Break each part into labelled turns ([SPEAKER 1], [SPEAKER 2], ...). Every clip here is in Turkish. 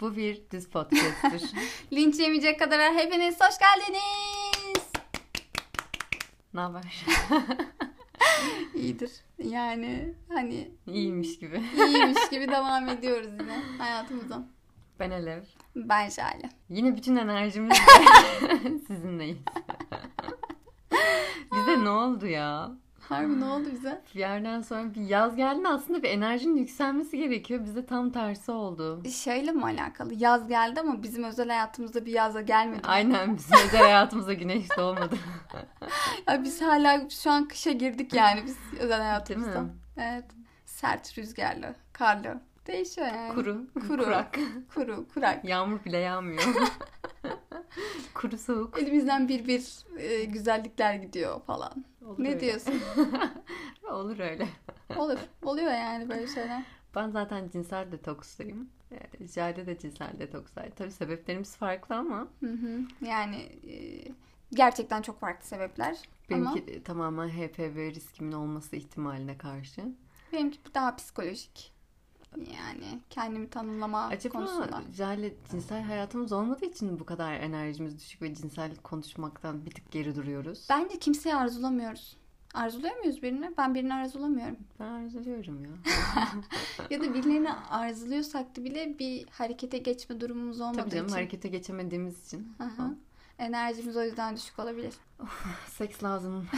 [SPEAKER 1] Bu bir düz podcast'tir.
[SPEAKER 2] Linç yemeyecek kadar hepiniz hoş geldiniz.
[SPEAKER 1] ne haber?
[SPEAKER 2] İyidir. Yani hani
[SPEAKER 1] İyiymiş gibi.
[SPEAKER 2] iyiymiş gibi devam ediyoruz yine hayatımıza.
[SPEAKER 1] Ben Alev.
[SPEAKER 2] Ben Şale.
[SPEAKER 1] Yine bütün enerjimizle sizinleyiz. Bize ne oldu ya?
[SPEAKER 2] Harbi ne oldu bize?
[SPEAKER 1] Bir yerden sonra bir yaz geldi aslında bir enerjinin yükselmesi gerekiyor. Bize tam tersi oldu.
[SPEAKER 2] Şeyle mi alakalı? Yaz geldi ama bizim özel hayatımızda bir yaza gelmedi.
[SPEAKER 1] Aynen bizim özel hayatımıza güneş doğmadı.
[SPEAKER 2] Ya biz hala şu an kışa girdik yani biz özel hayatımızda.
[SPEAKER 1] mi?
[SPEAKER 2] Evet. Sert rüzgarlı, karlı. Değişiyor yani.
[SPEAKER 1] Kuru,
[SPEAKER 2] Kuru.
[SPEAKER 1] kurak.
[SPEAKER 2] Kuru, kurak.
[SPEAKER 1] Yağmur bile yağmıyor. Kuru soğuk.
[SPEAKER 2] Elimizden bir bir e, güzellikler gidiyor falan.
[SPEAKER 1] Olur
[SPEAKER 2] Ne
[SPEAKER 1] öyle.
[SPEAKER 2] diyorsun?
[SPEAKER 1] Olur öyle.
[SPEAKER 2] Olur. Oluyor yani böyle şeyler.
[SPEAKER 1] Ben zaten cinsel detoksuyum. Ee, Jale de cinsel detoksay. Tabii sebeplerimiz farklı ama
[SPEAKER 2] Hı hı. Yani e, gerçekten çok farklı sebepler.
[SPEAKER 1] benimki de tamamen HPV riskimin olması ihtimaline karşı.
[SPEAKER 2] Benimki daha psikolojik. Yani kendimi tanımlama
[SPEAKER 1] Acaba
[SPEAKER 2] konusunda.
[SPEAKER 1] Jale cinsel hayatımız olmadığı için mi bu kadar enerjimiz düşük ve cinsel konuşmaktan bir tık geri duruyoruz?
[SPEAKER 2] Bence kimseyi arzulamıyoruz. Arzuluyor muyuz birini? Ben birini arzulamıyorum.
[SPEAKER 1] Ben arzuluyorum ya.
[SPEAKER 2] ya da birilerini arzuluyorsak da bile bir harekete geçme durumumuz olmadığı
[SPEAKER 1] Tabii canım
[SPEAKER 2] için.
[SPEAKER 1] harekete geçemediğimiz için.
[SPEAKER 2] Hı hı. Enerjimiz o yüzden düşük olabilir.
[SPEAKER 1] Seks lazım.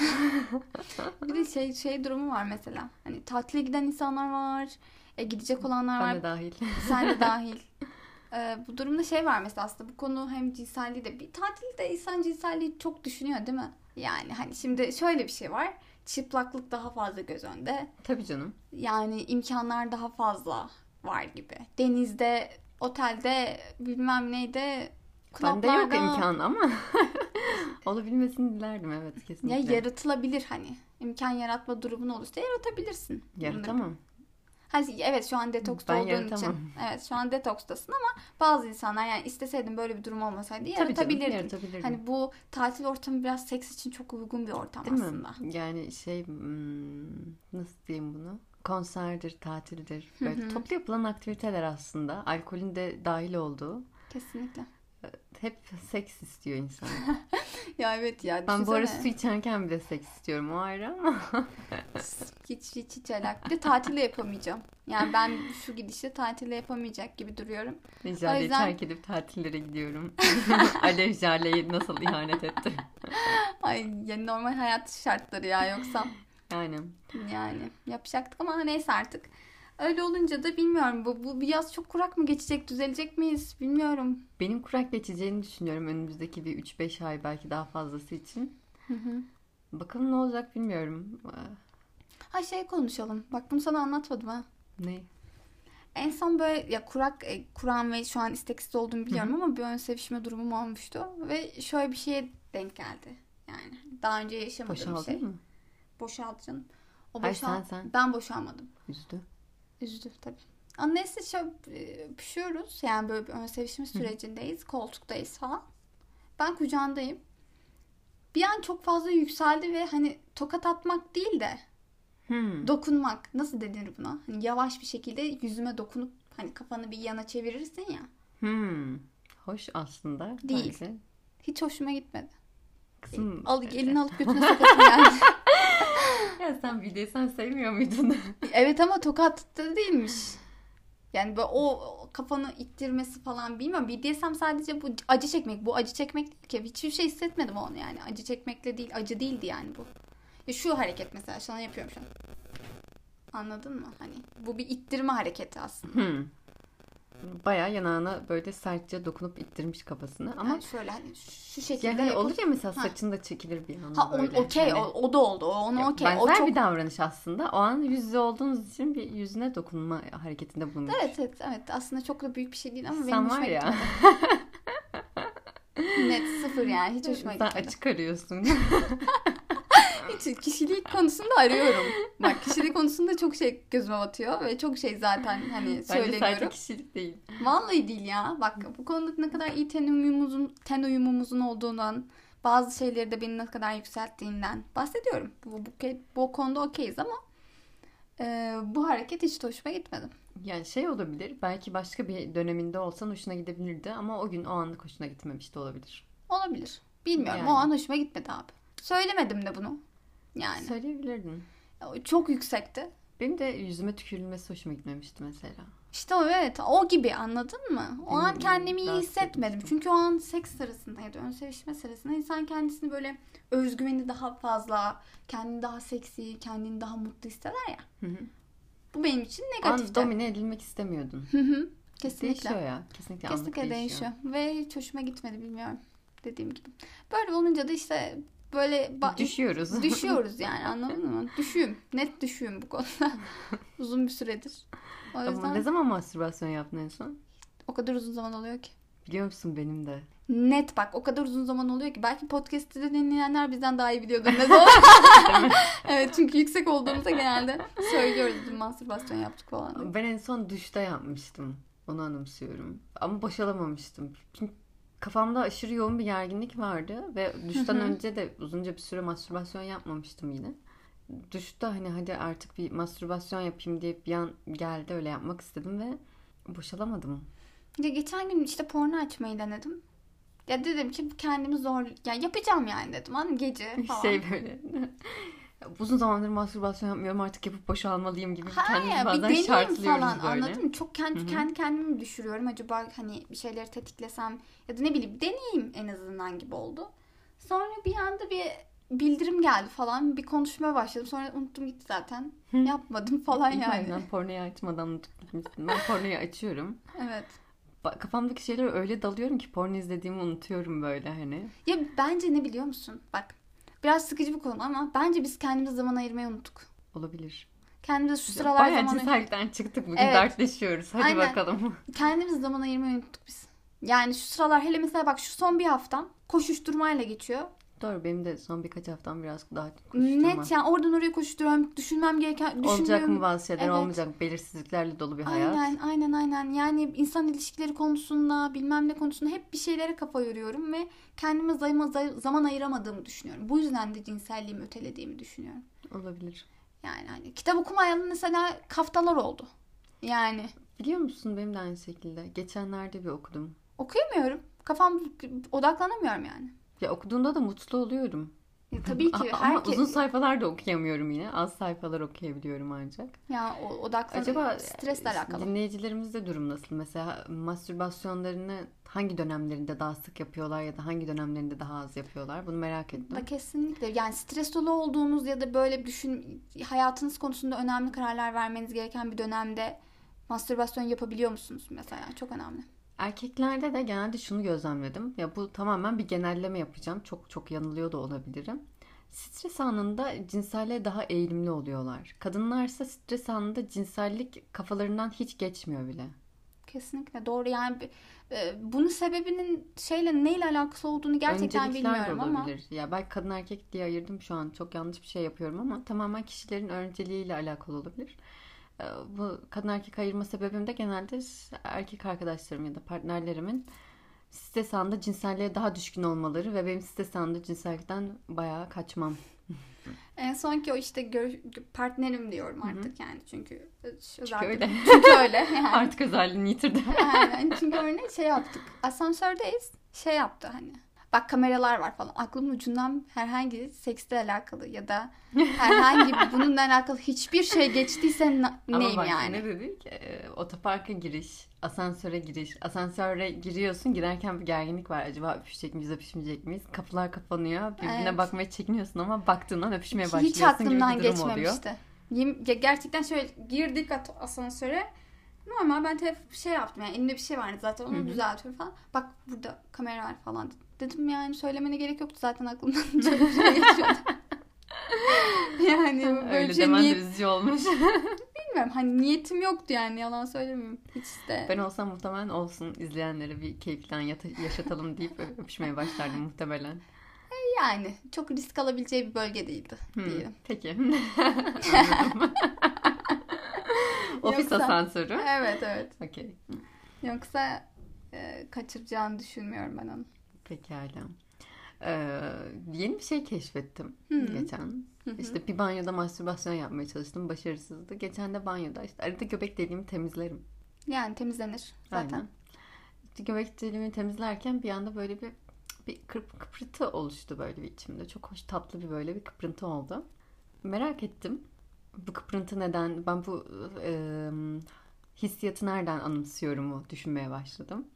[SPEAKER 2] Bir de şey şey durumu var mesela. Hani tatile giden insanlar var. E, gidecek olanlar var.
[SPEAKER 1] Ben de dahil.
[SPEAKER 2] Sen de dahil. Ee, bu durumda şey var mesela aslında bu konu hem cinselliği de bir tatilde insan cinselliği çok düşünüyor değil mi? Yani hani şimdi şöyle bir şey var. Çıplaklık daha fazla göz önünde.
[SPEAKER 1] Tabii canım.
[SPEAKER 2] Yani imkanlar daha fazla var gibi. Denizde, otelde, bilmem neyde,
[SPEAKER 1] Bende yok
[SPEAKER 2] klaplarda-
[SPEAKER 1] imkan ama olabilmesini dilerdim evet
[SPEAKER 2] Ya
[SPEAKER 1] kesinlikle.
[SPEAKER 2] yaratılabilir hani. İmkan yaratma durumun olursa yaratabilirsin. Bunları
[SPEAKER 1] Yaratamam.
[SPEAKER 2] Hani evet şu an detoksta
[SPEAKER 1] Ben
[SPEAKER 2] olduğun
[SPEAKER 1] yaratamam.
[SPEAKER 2] için. Evet şu an detokstasın ama bazı insanlar yani isteseydin böyle bir durum olmasaydı
[SPEAKER 1] Tabii canım,
[SPEAKER 2] yaratabilirdin.
[SPEAKER 1] yaratabilirdim.
[SPEAKER 2] Hani bu tatil ortamı biraz seks için çok uygun bir ortam
[SPEAKER 1] Değil
[SPEAKER 2] aslında.
[SPEAKER 1] mi? Yani şey hmm, nasıl diyeyim bunu? Konserdir, tatildir. Böyle toplu yapılan aktiviteler aslında. Alkolün de dahil olduğu.
[SPEAKER 2] Kesinlikle.
[SPEAKER 1] Hep seks istiyor insan.
[SPEAKER 2] Ya evet ya
[SPEAKER 1] ben bu ara su
[SPEAKER 2] düşünsene.
[SPEAKER 1] içerken bile seks istiyorum o ayrı ama.
[SPEAKER 2] hiç hiç hiç alak. Bir de tatile yapamayacağım. Yani ben şu gidişle tatile yapamayacak gibi duruyorum. O
[SPEAKER 1] Jale'yi
[SPEAKER 2] yüzden-
[SPEAKER 1] terk edip tatillere gidiyorum. Alev Jale'yi nasıl ihanet etti.
[SPEAKER 2] Ay ya normal hayat şartları ya yoksa
[SPEAKER 1] Yani
[SPEAKER 2] yani yapacaktık ama neyse artık. Öyle olunca da bilmiyorum bu, bu bir yaz çok kurak mı geçecek düzelecek miyiz bilmiyorum.
[SPEAKER 1] benim kurak geçeceğini düşünüyorum önümüzdeki bir 3-5 ay belki daha fazlası için. Bakalım ne olacak bilmiyorum. Ee,
[SPEAKER 2] Ha şey konuşalım. Bak bunu sana anlatmadım ha.
[SPEAKER 1] Ne?
[SPEAKER 2] En son böyle ya kurak e, kuran ve şu an isteksiz olduğumu biliyorum ama bir ön sevişme durumum olmuştu ve şöyle bir şeye denk geldi. Yani daha önce yaşamadığım
[SPEAKER 1] Boşaldın
[SPEAKER 2] şey.
[SPEAKER 1] mı?
[SPEAKER 2] Boşaldı canım. O
[SPEAKER 1] Hayır,
[SPEAKER 2] boşal-
[SPEAKER 1] sen- sen.
[SPEAKER 2] Ben boşalmadım.
[SPEAKER 1] Üzdü.
[SPEAKER 2] Üzdü tabii. Ama neyse şöyle e, pişiyoruz. Yani böyle bir ön sevişme sürecindeyiz. Koltuktayız falan. Ben kucağındayım. Bir an çok fazla yükseldi ve hani tokat atmak değil de
[SPEAKER 1] Hmm.
[SPEAKER 2] dokunmak nasıl denir buna? Hani yavaş bir şekilde yüzüme dokunup hani kafanı bir yana çevirirsin ya.
[SPEAKER 1] Hmm. Hoş aslında.
[SPEAKER 2] Değil.
[SPEAKER 1] Bence.
[SPEAKER 2] Hiç hoşuma gitmedi.
[SPEAKER 1] Kızım, e,
[SPEAKER 2] Al elini alıp götüne sokasın yani.
[SPEAKER 1] ya sen bildiysen sevmiyor muydun?
[SPEAKER 2] evet ama tokat da değilmiş. Yani böyle o o kafanı ittirmesi falan bilmiyorum. BDSM sadece bu acı çekmek. Bu acı çekmek değil ki. Hiçbir şey hissetmedim onu yani. Acı çekmekle değil. Acı değildi yani bu. Ya şu hareket mesela sana yapıyorum şu an. Anladın mı? Hani bu bir ittirme hareketi aslında.
[SPEAKER 1] hmm. Baya yanağına böyle sertçe dokunup ittirmiş kafasını. Ama
[SPEAKER 2] Yani şöyle hani şu şekilde
[SPEAKER 1] yani hani
[SPEAKER 2] yapıp-
[SPEAKER 1] olur ya mesela
[SPEAKER 2] Ha.
[SPEAKER 1] saçın da çekilir bir anda
[SPEAKER 2] Ha o-
[SPEAKER 1] böyle.
[SPEAKER 2] okey
[SPEAKER 1] Hani
[SPEAKER 2] o, o da oldu. O ona okey. O
[SPEAKER 1] benzer
[SPEAKER 2] çok
[SPEAKER 1] bir davranış aslında. O an yüz yüze olduğunuz için bir yüzüne dokunma hareketinde bulunmuş.
[SPEAKER 2] Evet evet evet aslında çok da büyük bir şey değil ama benim
[SPEAKER 1] Sen var
[SPEAKER 2] hoşuma
[SPEAKER 1] ya.
[SPEAKER 2] gitmedi. Net sıfır yani hiç hoşuma
[SPEAKER 1] Sen
[SPEAKER 2] gitmedi.
[SPEAKER 1] açık arıyorsun.
[SPEAKER 2] Hiç kişilik konusunda arıyorum. Bak kişilik konusunda çok şey gözüme batıyor ve çok şey zaten hani
[SPEAKER 1] Bence sadece
[SPEAKER 2] söyleniyorum.
[SPEAKER 1] kişilik değil.
[SPEAKER 2] Vallahi değil ya. Bak bu konuda ne kadar iyi ten uyumumuzun, ten uyumumuzun olduğundan bazı şeyleri de beni ne kadar yükselttiğinden bahsediyorum. Bu, bu, bu konuda okeyiz ama Ee, bu hareket hiç de hoşuma gitmedi.
[SPEAKER 1] Yani şey olabilir. Belki başka bir döneminde olsan hoşuna gidebilirdi ama o gün o anlık hoşuna gitmemiş de olabilir.
[SPEAKER 2] Olabilir. Bilmiyorum.
[SPEAKER 1] Yani.
[SPEAKER 2] O an hoşuma gitmedi abi. Söylemedim de bunu. Yani
[SPEAKER 1] Söyleyebilirdin.
[SPEAKER 2] çok yüksekti.
[SPEAKER 1] Benim de yüzüme tükürülmesi hoşuma gitmemişti mesela.
[SPEAKER 2] İşte o evet o gibi anladın mı? O an
[SPEAKER 1] Bilmiyorum,
[SPEAKER 2] kendimi iyi
[SPEAKER 1] rahatsız
[SPEAKER 2] hissetmedim.
[SPEAKER 1] etmiştim.
[SPEAKER 2] Çünkü o an seks sırasındaydı. Ön sevişme sırasında insan kendisini böyle özgüveni daha fazla, kendini daha seksi, kendini daha mutlu hisseder ya.
[SPEAKER 1] Hı hı.
[SPEAKER 2] Bu benim için
[SPEAKER 1] An
[SPEAKER 2] negatifti.
[SPEAKER 1] domine edilmek istemiyordun.
[SPEAKER 2] Hı hı. Kesinlikle.
[SPEAKER 1] Değişiyor ya. Kesinlikle, anlık
[SPEAKER 2] Kesinlikle değişiyor. Ve hiç hoşuma gitmedi bilmiyorum. Dediğim gibi. Böyle olunca da işte böyle ba-
[SPEAKER 1] Düşüyoruz.
[SPEAKER 2] düşüyoruz yani anladın mı? Düşüyüm. Net düşüyüm bu konuda. uzun bir süredir. O
[SPEAKER 1] Ama
[SPEAKER 2] yüzden
[SPEAKER 1] ne zaman mastürbasyon yaptın en son?
[SPEAKER 2] o kadar uzun zaman oluyor ki.
[SPEAKER 1] Biliyor musun benim de.
[SPEAKER 2] Net bak o kadar uzun zaman oluyor ki belki podcast'te de dinleyenler bizden daha iyi biliyordur ne zaman. evet çünkü yüksek olduğumuzda genelde söylüyoruz dün mastürbasyon yaptık falan. diye.
[SPEAKER 1] Ben en son duşta yapmıştım. Onu anımsıyorum. Ama boşalamamıştım. Çünkü kafamda aşırı yoğun bir gerginlik vardı ve duştan
[SPEAKER 2] Hı hı.
[SPEAKER 1] önce de uzunca bir süre mastürbasyon yapmamıştım yine. Duşta hani hadi artık bir mastürbasyon yapayım diye bir an geldi öyle yapmak istedim ve boşalamadım.
[SPEAKER 2] Ya geçen gün işte porno açmayı denedim. Ya dedim ki kendimi zor ya yapacağım yani dedim anladın mı? gece falan.
[SPEAKER 1] Şey böyle. Uzun zamandır mastürbasyon yapmıyorum artık yapıp boşalmalıyım gibi kendimizi
[SPEAKER 2] Hayır, bir
[SPEAKER 1] bazen
[SPEAKER 2] deneyim
[SPEAKER 1] şartlıyoruz
[SPEAKER 2] falan
[SPEAKER 1] böyle.
[SPEAKER 2] anladın mı? Çok kendi,
[SPEAKER 1] Hı hı.
[SPEAKER 2] kendi kendimi düşürüyorum. Acaba hani bir şeyleri tetiklesem ya da ne bileyim deneyim en azından gibi oldu. Sonra bir anda bir bildirim geldi falan. Bir konuşmaya başladım. Sonra unuttum gitti zaten.
[SPEAKER 1] Hı.
[SPEAKER 2] Yapmadım falan yani.
[SPEAKER 1] Ben pornoyu açmadan unutup gitmiştim. Ben pornoyu açıyorum.
[SPEAKER 2] Evet.
[SPEAKER 1] Ba- Kafamdaki şeylere öyle dalıyorum ki porno izlediğimi unutuyorum böyle hani.
[SPEAKER 2] Ya bence ne biliyor musun? Bak biraz sıkıcı bir konu ama bence biz kendimize zaman ayırmayı unuttuk. Kendimiz
[SPEAKER 1] Olabilir.
[SPEAKER 2] Kendimize şu sıralar
[SPEAKER 1] Bayağı
[SPEAKER 2] zaman
[SPEAKER 1] cesaretten çıktık bugün
[SPEAKER 2] Evet.
[SPEAKER 1] dertleşiyoruz. Hadi
[SPEAKER 2] Aynen.
[SPEAKER 1] bakalım.
[SPEAKER 2] kendimiz zaman ayırmayı unuttuk biz. Yani şu sıralar hele mesela bak şu son bir haftam koşuşturmayla geçiyor.
[SPEAKER 1] Doğru benim de son birkaç haftam biraz daha koşuşturma.
[SPEAKER 2] Net yani oradan oraya koşturuyorum. Düşünmem gereken
[SPEAKER 1] Olacak
[SPEAKER 2] düşünmüyorum.
[SPEAKER 1] mı bazı şeyler
[SPEAKER 2] Evet.
[SPEAKER 1] olmayacak belirsizliklerle dolu bir hayat.
[SPEAKER 2] Aynen aynen aynen. Yani insan ilişkileri konusunda bilmem ne konusunda hep bir şeylere kafa yoruyorum ve kendime zayma, zay- zaman ayıramadığımı düşünüyorum. Bu yüzden de cinselliğimi ötelediğimi düşünüyorum.
[SPEAKER 1] Olabilir.
[SPEAKER 2] Yani hani kitap okumayalı mesela haftalar oldu. Yani
[SPEAKER 1] Biliyor musun benim de aynı şekilde. Geçenlerde bir okudum.
[SPEAKER 2] okuyamıyorum. Kafam odaklanamıyorum yani.
[SPEAKER 1] Ya okuduğunda da mutlu oluyorum.
[SPEAKER 2] Ya tabii ki
[SPEAKER 1] A- Ama
[SPEAKER 2] herkes
[SPEAKER 1] uzun sayfalar da okuyamıyorum yine. Az sayfalar okuyabiliyorum ancak.
[SPEAKER 2] ya o- odaklan
[SPEAKER 1] Acaba
[SPEAKER 2] stresle alakalı.
[SPEAKER 1] dinleyicilerimizde durum nasıl? Mesela mastürbasyonlarını hangi dönemlerinde daha sık yapıyorlar ya da hangi dönemlerinde daha az yapıyorlar? Bunu merak ettim.
[SPEAKER 2] Bak kesinlikle. Yani stres dolu olduğunuz ya da böyle düşün hayatınız konusunda önemli kararlar vermeniz gereken bir dönemde mastürbasyon yapabiliyor musunuz mesela? Çok önemli.
[SPEAKER 1] Erkeklerde de genelde şunu gözlemledim. Ya bu tamamen bir genelleme yapacağım. Çok çok yanılıyor da olabilirim. Stres anında cinselliğe daha eğilimli oluyorlar. Kadınlarsa stres anında cinsellik kafalarından hiç geçmiyor bile.
[SPEAKER 2] Kesinlikle doğru. Yani bi- e, bunun sebebinin şeyle neyle alakası olduğunu gerçekten
[SPEAKER 1] Öncelikler de
[SPEAKER 2] bilmiyorum ama
[SPEAKER 1] olabilir. Ya belki kadın erkek diye ayırdım şu an. Çok yanlış bir şey yapıyorum ama tamamen kişilerin önceliğiyle alakalı olabilir. Ee, Bu kadın erkek ayırma sebebim de genelde erkek arkadaşlarım ya da partnerlerimin stres anında cinselliğe daha düşkün olmaları ve benim stres anında cinsellikten bayağı kaçmam.
[SPEAKER 2] en son ki o işte gör- partnerim diyorum artık yani çünkü çünkü
[SPEAKER 1] öyle.
[SPEAKER 2] çünkü öyle yani.
[SPEAKER 1] Artık özelliğini yitirdim.
[SPEAKER 2] Aynen. Çünkü örneğin şey yaptık. Asansördeyiz. Şey yaptı hani. Bak kameralar var falan. Aklımın ucundan herhangi seksle alakalı ya da herhangi bir bununla alakalı hiçbir şey geçtiyse na- neyim
[SPEAKER 1] Ama bak
[SPEAKER 2] yani?
[SPEAKER 1] ne dedik? Ee, otoparka giriş, asansöre giriş. Asansöre giriyorsun girerken bir gerginlik var. Acaba öpüşecek miyiz, öpüşmeyecek miyiz? Kapılar kapanıyor. Birbirine
[SPEAKER 2] Evet.
[SPEAKER 1] bakmaya çekiniyorsun ama baktığından öpüşmeye
[SPEAKER 2] Hiç
[SPEAKER 1] başlıyorsun
[SPEAKER 2] aklımdan
[SPEAKER 1] gibi bir durum oluyor.
[SPEAKER 2] geçmemişti. Yem- ya gerçekten şöyle girdik at- asansöre. Normal ben telef- şey yaptım yani elimde bir şey vardı zaten onu
[SPEAKER 1] Hı hı.
[SPEAKER 2] düzeltiyorum falan. Bak burada kamera var falan dedim. Dedim yani söylemene gerek yoktu zaten aklımdan çok bir şey geçiyordu. yani böyle
[SPEAKER 1] Öyle
[SPEAKER 2] bir şey
[SPEAKER 1] demen
[SPEAKER 2] niyet-
[SPEAKER 1] de üzücü olmuş.
[SPEAKER 2] Bilmiyorum hani niyetim yoktu yani yalan söylemeyeyim. Hiç de.
[SPEAKER 1] ben olsam muhtemelen olsun izleyenlere bir keyiften yata- yaşatalım deyip öpüşmeye başlardım muhtemelen.
[SPEAKER 2] Yani çok risk alabileceği bir bölge değildi
[SPEAKER 1] Hmm,
[SPEAKER 2] diyelim.
[SPEAKER 1] Peki. Anladım. Ofis
[SPEAKER 2] Yoksa-
[SPEAKER 1] asansörü.
[SPEAKER 2] Evet evet.
[SPEAKER 1] Okey.
[SPEAKER 2] Yoksa e, kaçıracağını düşünmüyorum ben onu.
[SPEAKER 1] Pekala. Ee, yeni bir şey keşfettim
[SPEAKER 2] Hı.
[SPEAKER 1] geçen. İşte bir banyoda mastürbasyon yapmaya çalıştım. Başarısızdı. Geçen de banyoda işte arada göbek deliğimi temizlerim.
[SPEAKER 2] Yani temizlenir zaten.
[SPEAKER 1] Aynen. İşte göbek deliğimi temizlerken bir anda böyle bir bir kıp- kıpırtı oluştu böyle bir içimde. Çok hoş tatlı bir böyle bir kıpırtı oldu. Merak ettim. Bu kıpırtı neden? Ben bu e, hissiyatı nereden anımsıyorumu düşünmeye başladım.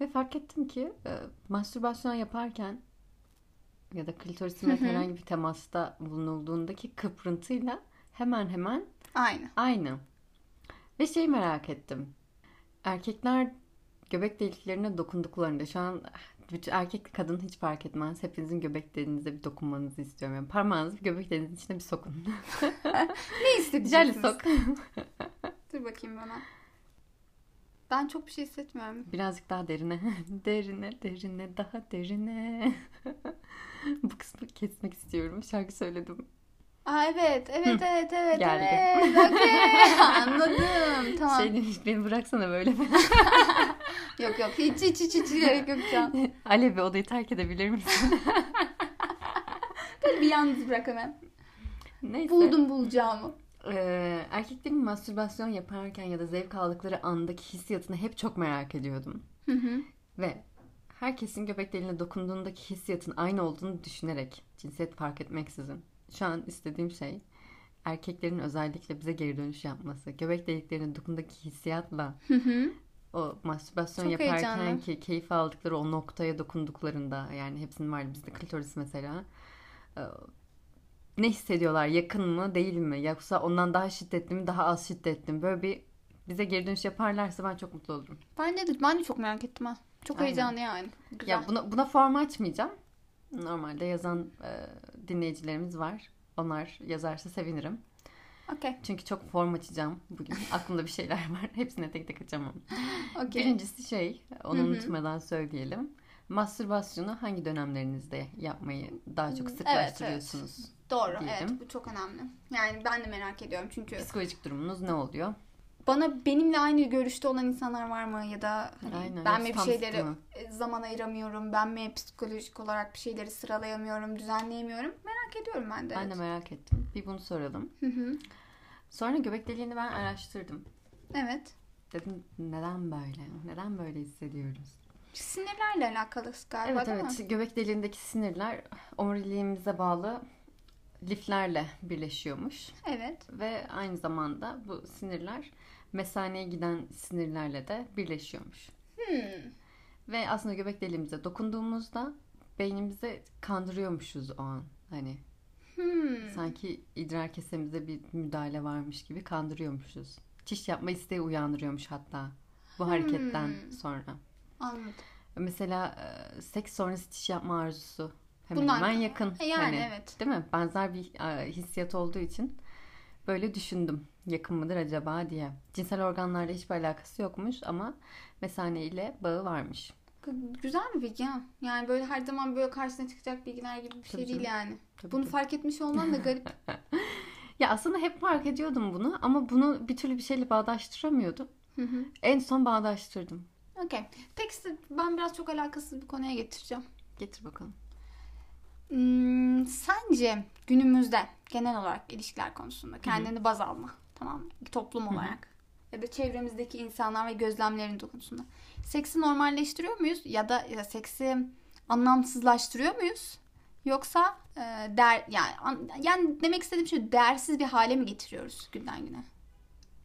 [SPEAKER 1] Ve fark ettim ki e, mastürbasyon yaparken ya da klitorisime
[SPEAKER 2] Hı hı.
[SPEAKER 1] herhangi bir temasta bulunulduğundaki kıpırtıyla hemen hemen
[SPEAKER 2] Aynen.
[SPEAKER 1] Aynı. Ve şeyi merak ettim. Erkekler göbek deliklerine dokunduklarında şu an bütün erkek kadın hiç fark etmez. Hepinizin göbek deliğinize bir dokunmanızı istiyorum. Yani parmağınızı bir göbek deliğinizin içine bir sokun.
[SPEAKER 2] Ne hissedeceksiniz?
[SPEAKER 1] Jelly sok.
[SPEAKER 2] Dur bakayım hemen. Ben çok bir şey hissetmiyorum.
[SPEAKER 1] Birazcık daha derine. derine, derine, daha derine. Bu kısmı kesmek istiyorum. Şarkı söyledim.
[SPEAKER 2] Aa evet, evet, evet, evet,
[SPEAKER 1] Geldi.
[SPEAKER 2] evet. okey. Anladım. Tamam.
[SPEAKER 1] Şey demiş, beni bıraksana böyle.
[SPEAKER 2] Yok yok, hiç hiç hiç hiç gerek yok şu an.
[SPEAKER 1] Alevi odayı terk edebilir misin?
[SPEAKER 2] Beni bir yalnız bırak hemen.
[SPEAKER 1] Neyse.
[SPEAKER 2] Buldum bulacağımı.
[SPEAKER 1] Ee, erkeklerin mastürbasyon yaparken ya da zevk aldıkları andaki hissiyatını hep çok merak ediyordum.
[SPEAKER 2] Hı hı.
[SPEAKER 1] Ve herkesin göbek deliğine dokunduğundaki hissiyatın aynı olduğunu düşünerek cinsiyet fark etmeksizin. Şu an istediğim şey erkeklerin özellikle bize geri dönüş yapması. Göbek deliklerine dokundaki hissiyatla
[SPEAKER 2] Hı hı.
[SPEAKER 1] o mastürbasyon
[SPEAKER 2] Çok
[SPEAKER 1] yaparken
[SPEAKER 2] heyecanlı.
[SPEAKER 1] ki keyif aldıkları o noktaya dokunduklarında yani hepsinin var bizde klitoris mesela e, ne hissediyorlar yakın mı değil mi yoksa ondan daha şiddetli mi daha az şiddetli mi böyle bir bize geri dönüş yaparlarsa ben çok mutlu olurum.
[SPEAKER 2] Bence de, ben de çok merak ettim ha. Çok
[SPEAKER 1] Aynen.
[SPEAKER 2] heyecanlı yani. Güzel.
[SPEAKER 1] Ya buna buna form açmayacağım. Normalde yazan e, dinleyicilerimiz var. Onlar yazarsa sevinirim.
[SPEAKER 2] Okey,
[SPEAKER 1] Çünkü çok form açacağım bugün. Aklımda bir şeyler var. Hepsine tek tek açamam.
[SPEAKER 2] okey.
[SPEAKER 1] Birincisi şey, onu
[SPEAKER 2] Hı hı.
[SPEAKER 1] unutmadan söyleyelim. Mastürbasyonu hangi dönemlerinizde yapmayı daha çok
[SPEAKER 2] Evet,
[SPEAKER 1] sıklaştırıyorsunuz?
[SPEAKER 2] Doğru,
[SPEAKER 1] diyelim.
[SPEAKER 2] evet bu çok önemli. Yani ben de merak ediyorum çünkü
[SPEAKER 1] Psikolojik durumunuz ne oluyor?
[SPEAKER 2] bana benimle aynı görüşte olan insanlar var mı ya da hani
[SPEAKER 1] Aynen,
[SPEAKER 2] ben
[SPEAKER 1] hepsi
[SPEAKER 2] mi bir
[SPEAKER 1] tam
[SPEAKER 2] şeyleri
[SPEAKER 1] zıttı mı?
[SPEAKER 2] e, zaman ayıramıyorum, ben mi psikolojik olarak bir şeyleri sıralayamıyorum, düzenleyemiyorum. Merak ediyorum ben de.
[SPEAKER 1] Ben de
[SPEAKER 2] evet.
[SPEAKER 1] merak ettim. Bir bunu soralım.
[SPEAKER 2] Hı hı.
[SPEAKER 1] Sonra göbek deliğini ben araştırdım.
[SPEAKER 2] Evet.
[SPEAKER 1] Dedim neden böyle? Neden böyle hissediyoruz?
[SPEAKER 2] Sinirlerle alakalı galiba
[SPEAKER 1] Evet
[SPEAKER 2] değil
[SPEAKER 1] evet
[SPEAKER 2] mi?
[SPEAKER 1] göbek deliğindeki sinirler omuriliğimize bağlı liflerle birleşiyormuş.
[SPEAKER 2] Evet.
[SPEAKER 1] Ve aynı zamanda bu sinirler mesaneye giden sinirlerle de birleşiyormuş.
[SPEAKER 2] Hmm.
[SPEAKER 1] Ve aslında göbek deliğimize dokunduğumuzda beynimize kandırıyormuşuz o an. Hani
[SPEAKER 2] Hmm.
[SPEAKER 1] sanki idrar kesemize bir müdahale varmış gibi kandırıyormuşuz. Çiş yapma isteği uyandırıyormuş hatta bu hareketten
[SPEAKER 2] Hmm.
[SPEAKER 1] sonra.
[SPEAKER 2] Anladım.
[SPEAKER 1] Mesela e, seks sonrası çiş yapma arzusu hemen
[SPEAKER 2] Bundan-
[SPEAKER 1] hemen yakın.
[SPEAKER 2] E, Yani
[SPEAKER 1] Hani,
[SPEAKER 2] evet.
[SPEAKER 1] Değil mi? Benzer bir e, hissiyat olduğu için böyle düşündüm. Yakın mıdır acaba diye. Cinsel organlarla hiçbir alakası yokmuş ama mesane ile bağı varmış.
[SPEAKER 2] G- Güzel bir bilgi ha. Yani böyle her zaman böyle karşısına çıkacak bilgiler gibi bir
[SPEAKER 1] Tabii
[SPEAKER 2] şey değil yani.
[SPEAKER 1] Tabii
[SPEAKER 2] Bunu fark etmiş olman da garip.
[SPEAKER 1] Ya aslında hep fark ediyordum bunu ama bunu bir türlü bir şeyle bağdaştıramıyordum.
[SPEAKER 2] Hı hı.
[SPEAKER 1] En son bağdaştırdım.
[SPEAKER 2] Okey. Peki size- ben biraz çok alakasız bir konuya getireceğim.
[SPEAKER 1] Getir bakalım.
[SPEAKER 2] Hmm, sence günümüzde genel olarak ilişkiler konusunda kendini baz alma tamam mı? Toplum olarak ya da çevremizdeki insanlar ve gözlemlerin konusunda seksi normalleştiriyor muyuz ya da ya seksi anlamsızlaştırıyor muyuz? Yoksa e, der yani an- yani demek istediğim şey değersiz bir hale mi getiriyoruz günden güne?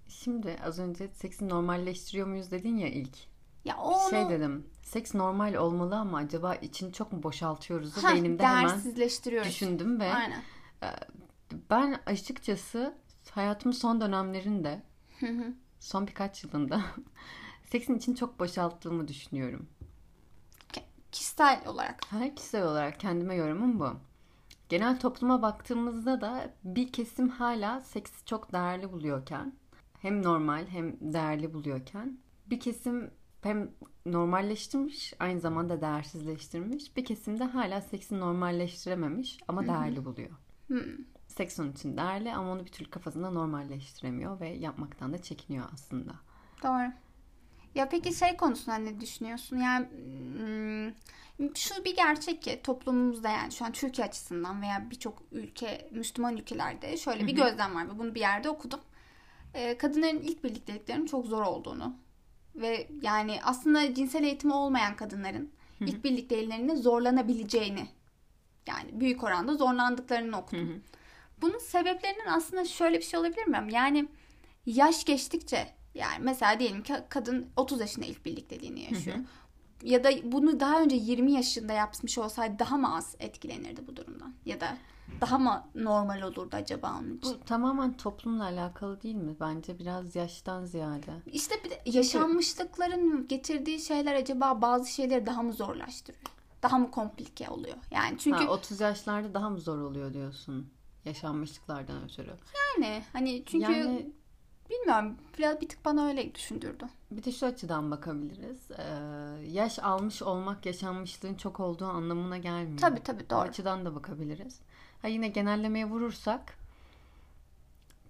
[SPEAKER 1] Şimdi az önce seksi normalleştiriyor muyuz dedin ya ilk.
[SPEAKER 2] Ya o onu
[SPEAKER 1] Şey dedim. Seks normal olmalı ama acaba içini çok mu boşaltıyoruz?
[SPEAKER 2] Hah,
[SPEAKER 1] Beynimde hemen
[SPEAKER 2] değersizleştiriyoruz.
[SPEAKER 1] düşündüm ve
[SPEAKER 2] Aynen.
[SPEAKER 1] ben açıkçası hayatımın son dönemlerinde
[SPEAKER 2] Hı hı.
[SPEAKER 1] son birkaç yılında seksin için çok boşalttığımı düşünüyorum.
[SPEAKER 2] Kişisel olarak.
[SPEAKER 1] Her kişisel olarak kendime yorumum bu. Genel topluma baktığımızda da bir kesim hala seksi çok değerli buluyorken, hem normal hem değerli buluyorken, bir kesim hem normalleştirmiş, aynı zamanda değersizleştirmiş, bir kesim de hala seksi normalleştirememiş ama değerli buluyor.
[SPEAKER 2] Hmm.
[SPEAKER 1] Seks onun için değerli ama onu bir türlü kafasında normalleştiremiyor ve yapmaktan da çekiniyor aslında.
[SPEAKER 2] Doğru. Ya peki şey konusunda ne düşünüyorsun? Yani mm, şu bir gerçek ki toplumumuzda yani şu an Türkiye açısından veya birçok ülke Müslüman ülkelerde şöyle bir
[SPEAKER 1] Hı hı.
[SPEAKER 2] gözlem var ve bunu bir yerde okudum. Ee, kadınların ilk birlikteliklerinin çok zor olduğunu ve yani aslında cinsel eğitimi olmayan kadınların
[SPEAKER 1] hı.
[SPEAKER 2] ilk birlikteliklerinde zorlanabileceğini yani büyük oranda zorlandıklarını
[SPEAKER 1] Hı
[SPEAKER 2] okudum.
[SPEAKER 1] hı.
[SPEAKER 2] Bunun sebeplerinin aslında şöyle bir şey olabilir mi? Yani yaş geçtikçe yani mesela diyelim ki kadın 30 yaşında ilk birlikteliğini yaşıyor.
[SPEAKER 1] Hı
[SPEAKER 2] Ya da bunu daha önce 20 yaşında yapmış olsaydı daha mı az etkilenirdi bu durumdan? Ya da daha mı normal olurdu acaba onun için?
[SPEAKER 1] Bu tamamen toplumla alakalı değil mi? Bence biraz yaştan ziyade.
[SPEAKER 2] İşte bir de yaşanmışlıkların getirdiği şeyler acaba bazı şeyleri daha mı zorlaştırıyor? Daha mı komplike oluyor? Yani çünkü
[SPEAKER 1] Ha, 30 yaşlarda daha mı zor oluyor diyorsun? Yaşanmışlıklardan ötürü.
[SPEAKER 2] yani hani çünkü
[SPEAKER 1] Yani-
[SPEAKER 2] bilmiyorum biraz bir tık bana öyle düşündürdü.
[SPEAKER 1] Bir de şu açıdan bakabiliriz. Ee, yaş almış olmak yaşanmışlığın çok olduğu anlamına gelmiyor.
[SPEAKER 2] Tabii tabii
[SPEAKER 1] O
[SPEAKER 2] doğru.
[SPEAKER 1] açıdan da bakabiliriz. Ha yine genellemeye vurursak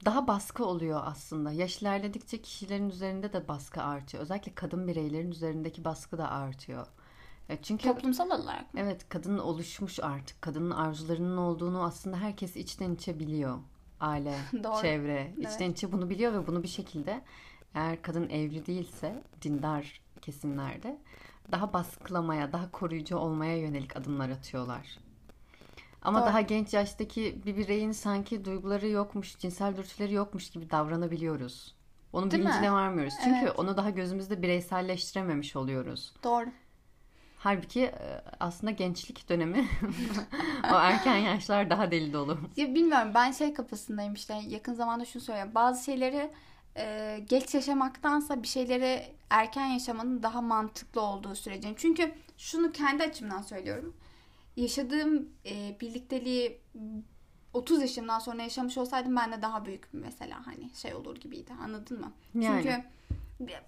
[SPEAKER 1] daha baskı oluyor aslında. Yaş ilerledikçe kişilerin üzerinde de baskı artıyor. Özellikle kadın bireylerin üzerindeki baskı da artıyor. E, Çünkü
[SPEAKER 2] Toplumsal olarak mı?
[SPEAKER 1] evet kadın oluşmuş artık. Kadının arzularının olduğunu aslında herkes içten içe biliyor. Aile,
[SPEAKER 2] Doğru.
[SPEAKER 1] çevre,
[SPEAKER 2] Evet.
[SPEAKER 1] içten içe bunu biliyor ve bunu bir şekilde eğer kadın evli değilse dindar kesimlerde daha baskılamaya, daha koruyucu olmaya yönelik adımlar atıyorlar. Ama
[SPEAKER 2] Doğru.
[SPEAKER 1] daha genç yaştaki bir bireyin sanki duyguları yokmuş, cinsel dürtüleri yokmuş gibi davranabiliyoruz. Onun
[SPEAKER 2] Değil mi?
[SPEAKER 1] bilincine varmıyoruz. Çünkü
[SPEAKER 2] Evet.
[SPEAKER 1] onu daha gözümüzde bireyselleştirememiş oluyoruz.
[SPEAKER 2] Doğru.
[SPEAKER 1] Halbuki e, aslında gençlik dönemi o erken yaşlar daha deli dolu.
[SPEAKER 2] Ya bilmiyorum ben şey kafasındayım işte yakın zamanda şunu söylüyorum. Bazı şeyleri e, geç yaşamaktansa bir şeyleri erken yaşamanın daha mantıklı olduğu sürece. Çünkü şunu kendi açımdan söylüyorum. Yaşadığım e, birlikteliği 30 yaşımdan sonra yaşamış olsaydım ben de daha büyük bir mesela hani şey olur gibiydi anladın mı?
[SPEAKER 1] Yani.
[SPEAKER 2] Çünkü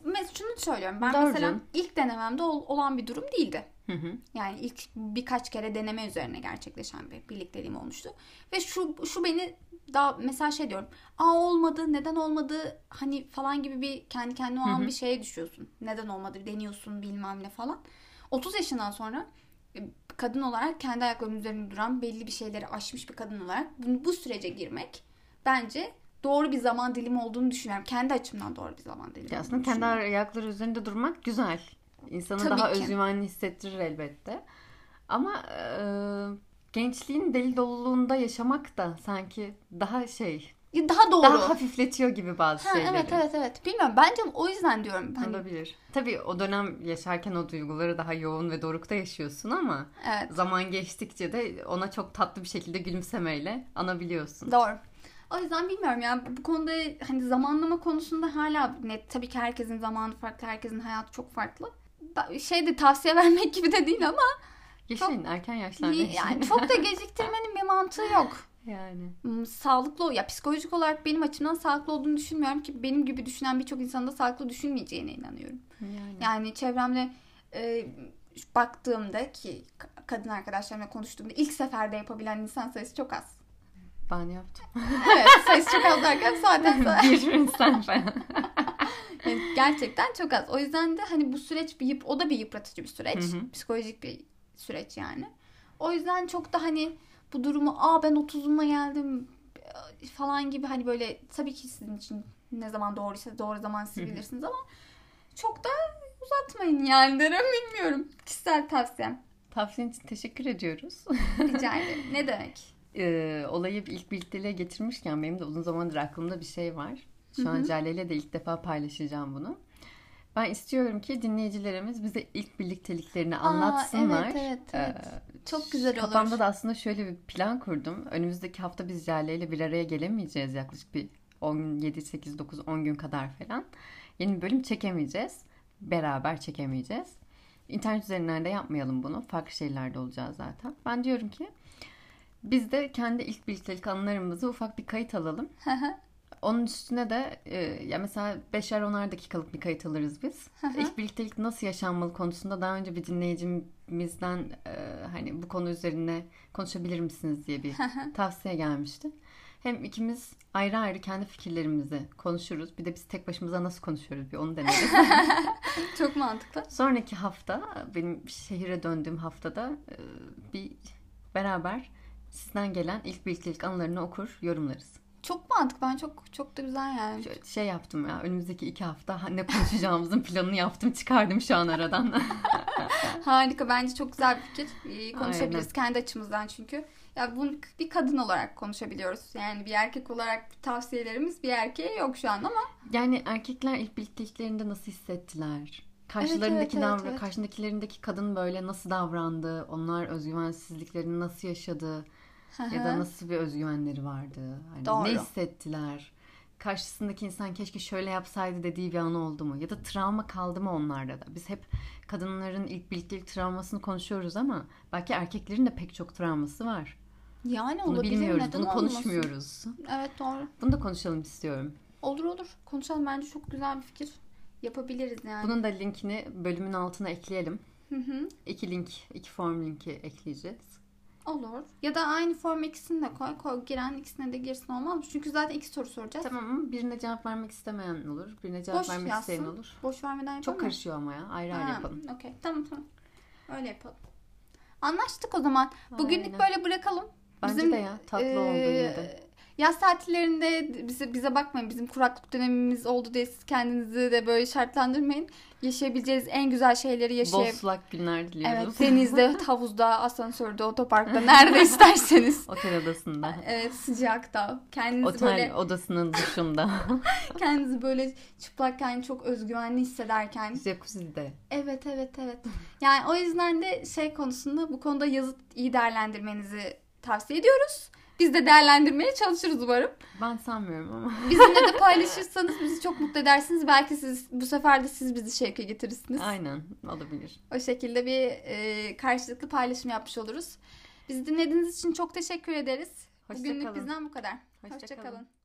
[SPEAKER 2] mes- şunu söylüyorum ben
[SPEAKER 1] Doğru
[SPEAKER 2] mesela
[SPEAKER 1] canım.
[SPEAKER 2] ilk denememde ol- olan bir durum değildi.
[SPEAKER 1] Hı hı.
[SPEAKER 2] Yani ilk birkaç kere deneme üzerine gerçekleşen bir birlikteliğim olmuştu. Ve şu şu beni daha mesela şey diyorum. Aa olmadı, neden olmadı hani falan gibi bir kendi kendine o
[SPEAKER 1] Hı
[SPEAKER 2] an
[SPEAKER 1] hı.
[SPEAKER 2] bir şeye düşüyorsun. Neden olmadı deniyorsun bilmem ne falan. 30 yaşından sonra e, kadın olarak kendi ayaklarının üzerinde duran belli bir şeyleri aşmış bir kadın olarak bu, bu sürece girmek bence doğru bir zaman dilimi olduğunu düşünüyorum. Kendi açımdan doğru bir zaman dilimi.
[SPEAKER 1] Ya
[SPEAKER 2] olduğunu
[SPEAKER 1] aslında kendi
[SPEAKER 2] düşünüyorum.
[SPEAKER 1] ayakları üzerinde durmak güzel. İnsanı
[SPEAKER 2] Tabii
[SPEAKER 1] daha
[SPEAKER 2] ki.
[SPEAKER 1] özgüvenli hissettirir elbette. Ama e, gençliğin deli doluluğunda yaşamak da sanki daha şey,
[SPEAKER 2] Ya daha doğru.
[SPEAKER 1] daha hafifletiyor gibi bazı
[SPEAKER 2] Ha,
[SPEAKER 1] şeyleri.
[SPEAKER 2] evet evet evet. Bilmiyorum. Bence o yüzden diyorum. Hani,
[SPEAKER 1] Olabilir. Tabii o dönem yaşarken o duyguları daha yoğun ve dorukta yaşıyorsun ama
[SPEAKER 2] evet.
[SPEAKER 1] zaman geçtikçe de ona çok tatlı bir şekilde gülümsemeyle anabiliyorsun.
[SPEAKER 2] Doğru. O yüzden bilmiyorum ya bu konuda hani zamanlama konusunda hala net tabii ki herkesin zamanı farklı, herkesin hayatı çok farklı. Ba- Şey de tavsiye vermek gibi de değil ama
[SPEAKER 1] Yaşayın erken yaşlarda
[SPEAKER 2] iyi-
[SPEAKER 1] yaşayın.
[SPEAKER 2] yani çok da geciktirmenin bir mantığı yok.
[SPEAKER 1] Yani.
[SPEAKER 2] Hmm, Sağlıklı ol- ya psikolojik olarak benim açımdan sağlıklı olduğunu düşünmüyorum ki benim gibi düşünen birçok insanın da sağlıklı düşünmeyeceğine inanıyorum.
[SPEAKER 1] Yani.
[SPEAKER 2] Yani çevremde e, baktığımda ki ka- kadın arkadaşlarımla konuştuğumda ilk seferde yapabilen insan sayısı çok az.
[SPEAKER 1] Ben yaptım.
[SPEAKER 2] Evet sayısı çok az derken zaten
[SPEAKER 1] Bir sen falan.
[SPEAKER 2] Yani Hani gerçekten çok az. O yüzden de hani bu süreç bir yıp, o da bir yıpratıcı bir süreç.
[SPEAKER 1] Hı hı.
[SPEAKER 2] Psikolojik bir süreç yani. O yüzden çok da hani bu durumu aa ben 30'uma geldim e, falan gibi hani böyle tabii ki sizin için ne zaman doğruysa doğru zaman siz
[SPEAKER 1] Hı hı.
[SPEAKER 2] bilirsiniz ama çok da uzatmayın yani derim bilmiyorum. Kişisel tavsiyem.
[SPEAKER 1] Tavsiyen için teşekkür ediyoruz.
[SPEAKER 2] Rica ederim. ne demek?
[SPEAKER 1] Ee, olayı ilk birlikteliğe getirmişken benim de uzun zamandır aklımda bir şey var. Şu an Cale'yle de ilk defa paylaşacağım bunu. Ben istiyorum ki dinleyicilerimiz bize ilk birlikteliklerini anlatsınlar.
[SPEAKER 2] evet, evet, evet.
[SPEAKER 1] Ee,
[SPEAKER 2] Çok güzel olur.
[SPEAKER 1] Kafamda da aslında şöyle bir plan kurdum. Önümüzdeki hafta biz Cale'yle bir araya gelemeyeceğiz yaklaşık bir 17, 8, 9, 10 gün kadar falan. Yeni bir bölüm çekemeyeceğiz. Beraber çekemeyeceğiz. İnternet üzerinden de yapmayalım bunu. Farklı şeylerde olacağız zaten. Ben diyorum ki biz de kendi ilk birliktelik anılarımızı ufak bir kayıt alalım. Onun üstüne de e, ya mesela 5'er 10'ar dakikalık bir kayıt alırız biz. İlk birliktelik nasıl yaşanmalı konusunda daha önce bir dinleyicimizden e, hani bu konu üzerine konuşabilir misiniz diye bir tavsiye gelmişti. Hem ikimiz ayrı ayrı kendi fikirlerimizi konuşuruz. Bir de biz tek başımıza nasıl konuşuyoruz bir onu deneriz.
[SPEAKER 2] Çok mantıklı.
[SPEAKER 1] Sonraki hafta benim şehire döndüğüm haftada e, bir beraber sizden gelen ilk birliktelik anılarını okur yorumlarız.
[SPEAKER 2] Çok mantıklı. Ben çok çok da güzel yani.
[SPEAKER 1] Şöyle Şey yaptım ya önümüzdeki iki hafta ha- ne konuşacağımızın planını yaptım çıkardım şu an aradan.
[SPEAKER 2] Harika. Bence çok güzel bir fikir. Ee, konuşabiliriz kendi açımızdan çünkü. Ya bunu bir kadın olarak konuşabiliyoruz. Yani bir erkek olarak tavsiyelerimiz bir erkeğe yok şu an ama
[SPEAKER 1] yani erkekler ilk birlikteliklerinde nasıl hissettiler?
[SPEAKER 2] evet,
[SPEAKER 1] Karşılarındaki
[SPEAKER 2] evet,
[SPEAKER 1] davra-
[SPEAKER 2] evet.
[SPEAKER 1] karşındakilerindeki kadın böyle nasıl davrandı? Onlar özgüvensizliklerini nasıl yaşadı? Ya da nasıl bir özgüvenleri vardı? Hani
[SPEAKER 2] Doğru.
[SPEAKER 1] Ne hissettiler? Karşısındaki insan keşke şöyle yapsaydı dediği bir an oldu mu? Ya da travma kaldı mı onlarda da? Biz hep kadınların ilk birliktelik travmasını konuşuyoruz ama belki erkeklerin de pek çok travması var.
[SPEAKER 2] yani
[SPEAKER 1] Bunu
[SPEAKER 2] olabilir.
[SPEAKER 1] bilmiyoruz,
[SPEAKER 2] Neden
[SPEAKER 1] bunu
[SPEAKER 2] olmasın?
[SPEAKER 1] konuşmuyoruz.
[SPEAKER 2] Evet doğru.
[SPEAKER 1] Bunu da konuşalım istiyorum.
[SPEAKER 2] Olur olur. Konuşalım bence çok güzel bir fikir. Yapabiliriz yani.
[SPEAKER 1] Bunun da linkini bölümün altına ekleyelim.
[SPEAKER 2] Hı hı.
[SPEAKER 1] İki link, iki form linki ekleyeceğiz.
[SPEAKER 2] Olur. Ya da aynı form ikisini de koy. koy. Giren ikisine de girsin olmaz mı? Çünkü zaten iki soru soracağız.
[SPEAKER 1] Tamam mı? Birine cevap vermek istemeyen olur, birine cevap
[SPEAKER 2] Boş
[SPEAKER 1] vermek
[SPEAKER 2] yazsın.
[SPEAKER 1] isteyen olur.
[SPEAKER 2] Boş vermeden yapalım
[SPEAKER 1] Çok
[SPEAKER 2] mı?
[SPEAKER 1] karışıyor ama ya. Ayrı ayrı
[SPEAKER 2] Ha,
[SPEAKER 1] yapalım.
[SPEAKER 2] Okey. Tamam tamam. Öyle yapalım. Anlaştık o zaman. Bugünlük
[SPEAKER 1] Aynen.
[SPEAKER 2] böyle bırakalım.
[SPEAKER 1] Bence
[SPEAKER 2] Bizim,
[SPEAKER 1] de ya tatlı
[SPEAKER 2] Ee,
[SPEAKER 1] oldu yine de.
[SPEAKER 2] Yaz tatillerinde bize bize bakmayın. Bizim kuraklık dönemimiz oldu diye siz kendinizi de böyle şartlandırmayın. Yaşayabileceğiniz en güzel şeyleri yaşayıp
[SPEAKER 1] Boslak günler diliyoruz.
[SPEAKER 2] Evet, denizde, havuzda, asansörde, otoparkta, nerede isterseniz.
[SPEAKER 1] Otel odasında.
[SPEAKER 2] Evet, sıcakta. Kendinizi
[SPEAKER 1] Otel
[SPEAKER 2] böyle
[SPEAKER 1] odasının dışında.
[SPEAKER 2] kendinizi böyle çıplakken çok özgüvenli hissederken
[SPEAKER 1] Jacuzzi'de.
[SPEAKER 2] Evet evet evet. Yani o yüzden de şey konusunda bu konuda yazıp iyi değerlendirmenizi tavsiye ediyoruz. Biz de değerlendirmeye çalışırız umarım.
[SPEAKER 1] Ben sanmıyorum ama.
[SPEAKER 2] Bizimle de paylaşırsanız bizi çok mutlu edersiniz. Belki siz bu sefer de siz bizi şevke getirirsiniz.
[SPEAKER 1] Aynen olabilir.
[SPEAKER 2] O şekilde bir e, karşılıklı paylaşım yapmış oluruz. Bizi dinlediğiniz için çok teşekkür ederiz.
[SPEAKER 1] Hoşça
[SPEAKER 2] Bugünlük
[SPEAKER 1] kalın.
[SPEAKER 2] bizden bu kadar.
[SPEAKER 1] Hoşça
[SPEAKER 2] Hoşça
[SPEAKER 1] kalın.
[SPEAKER 2] kalın.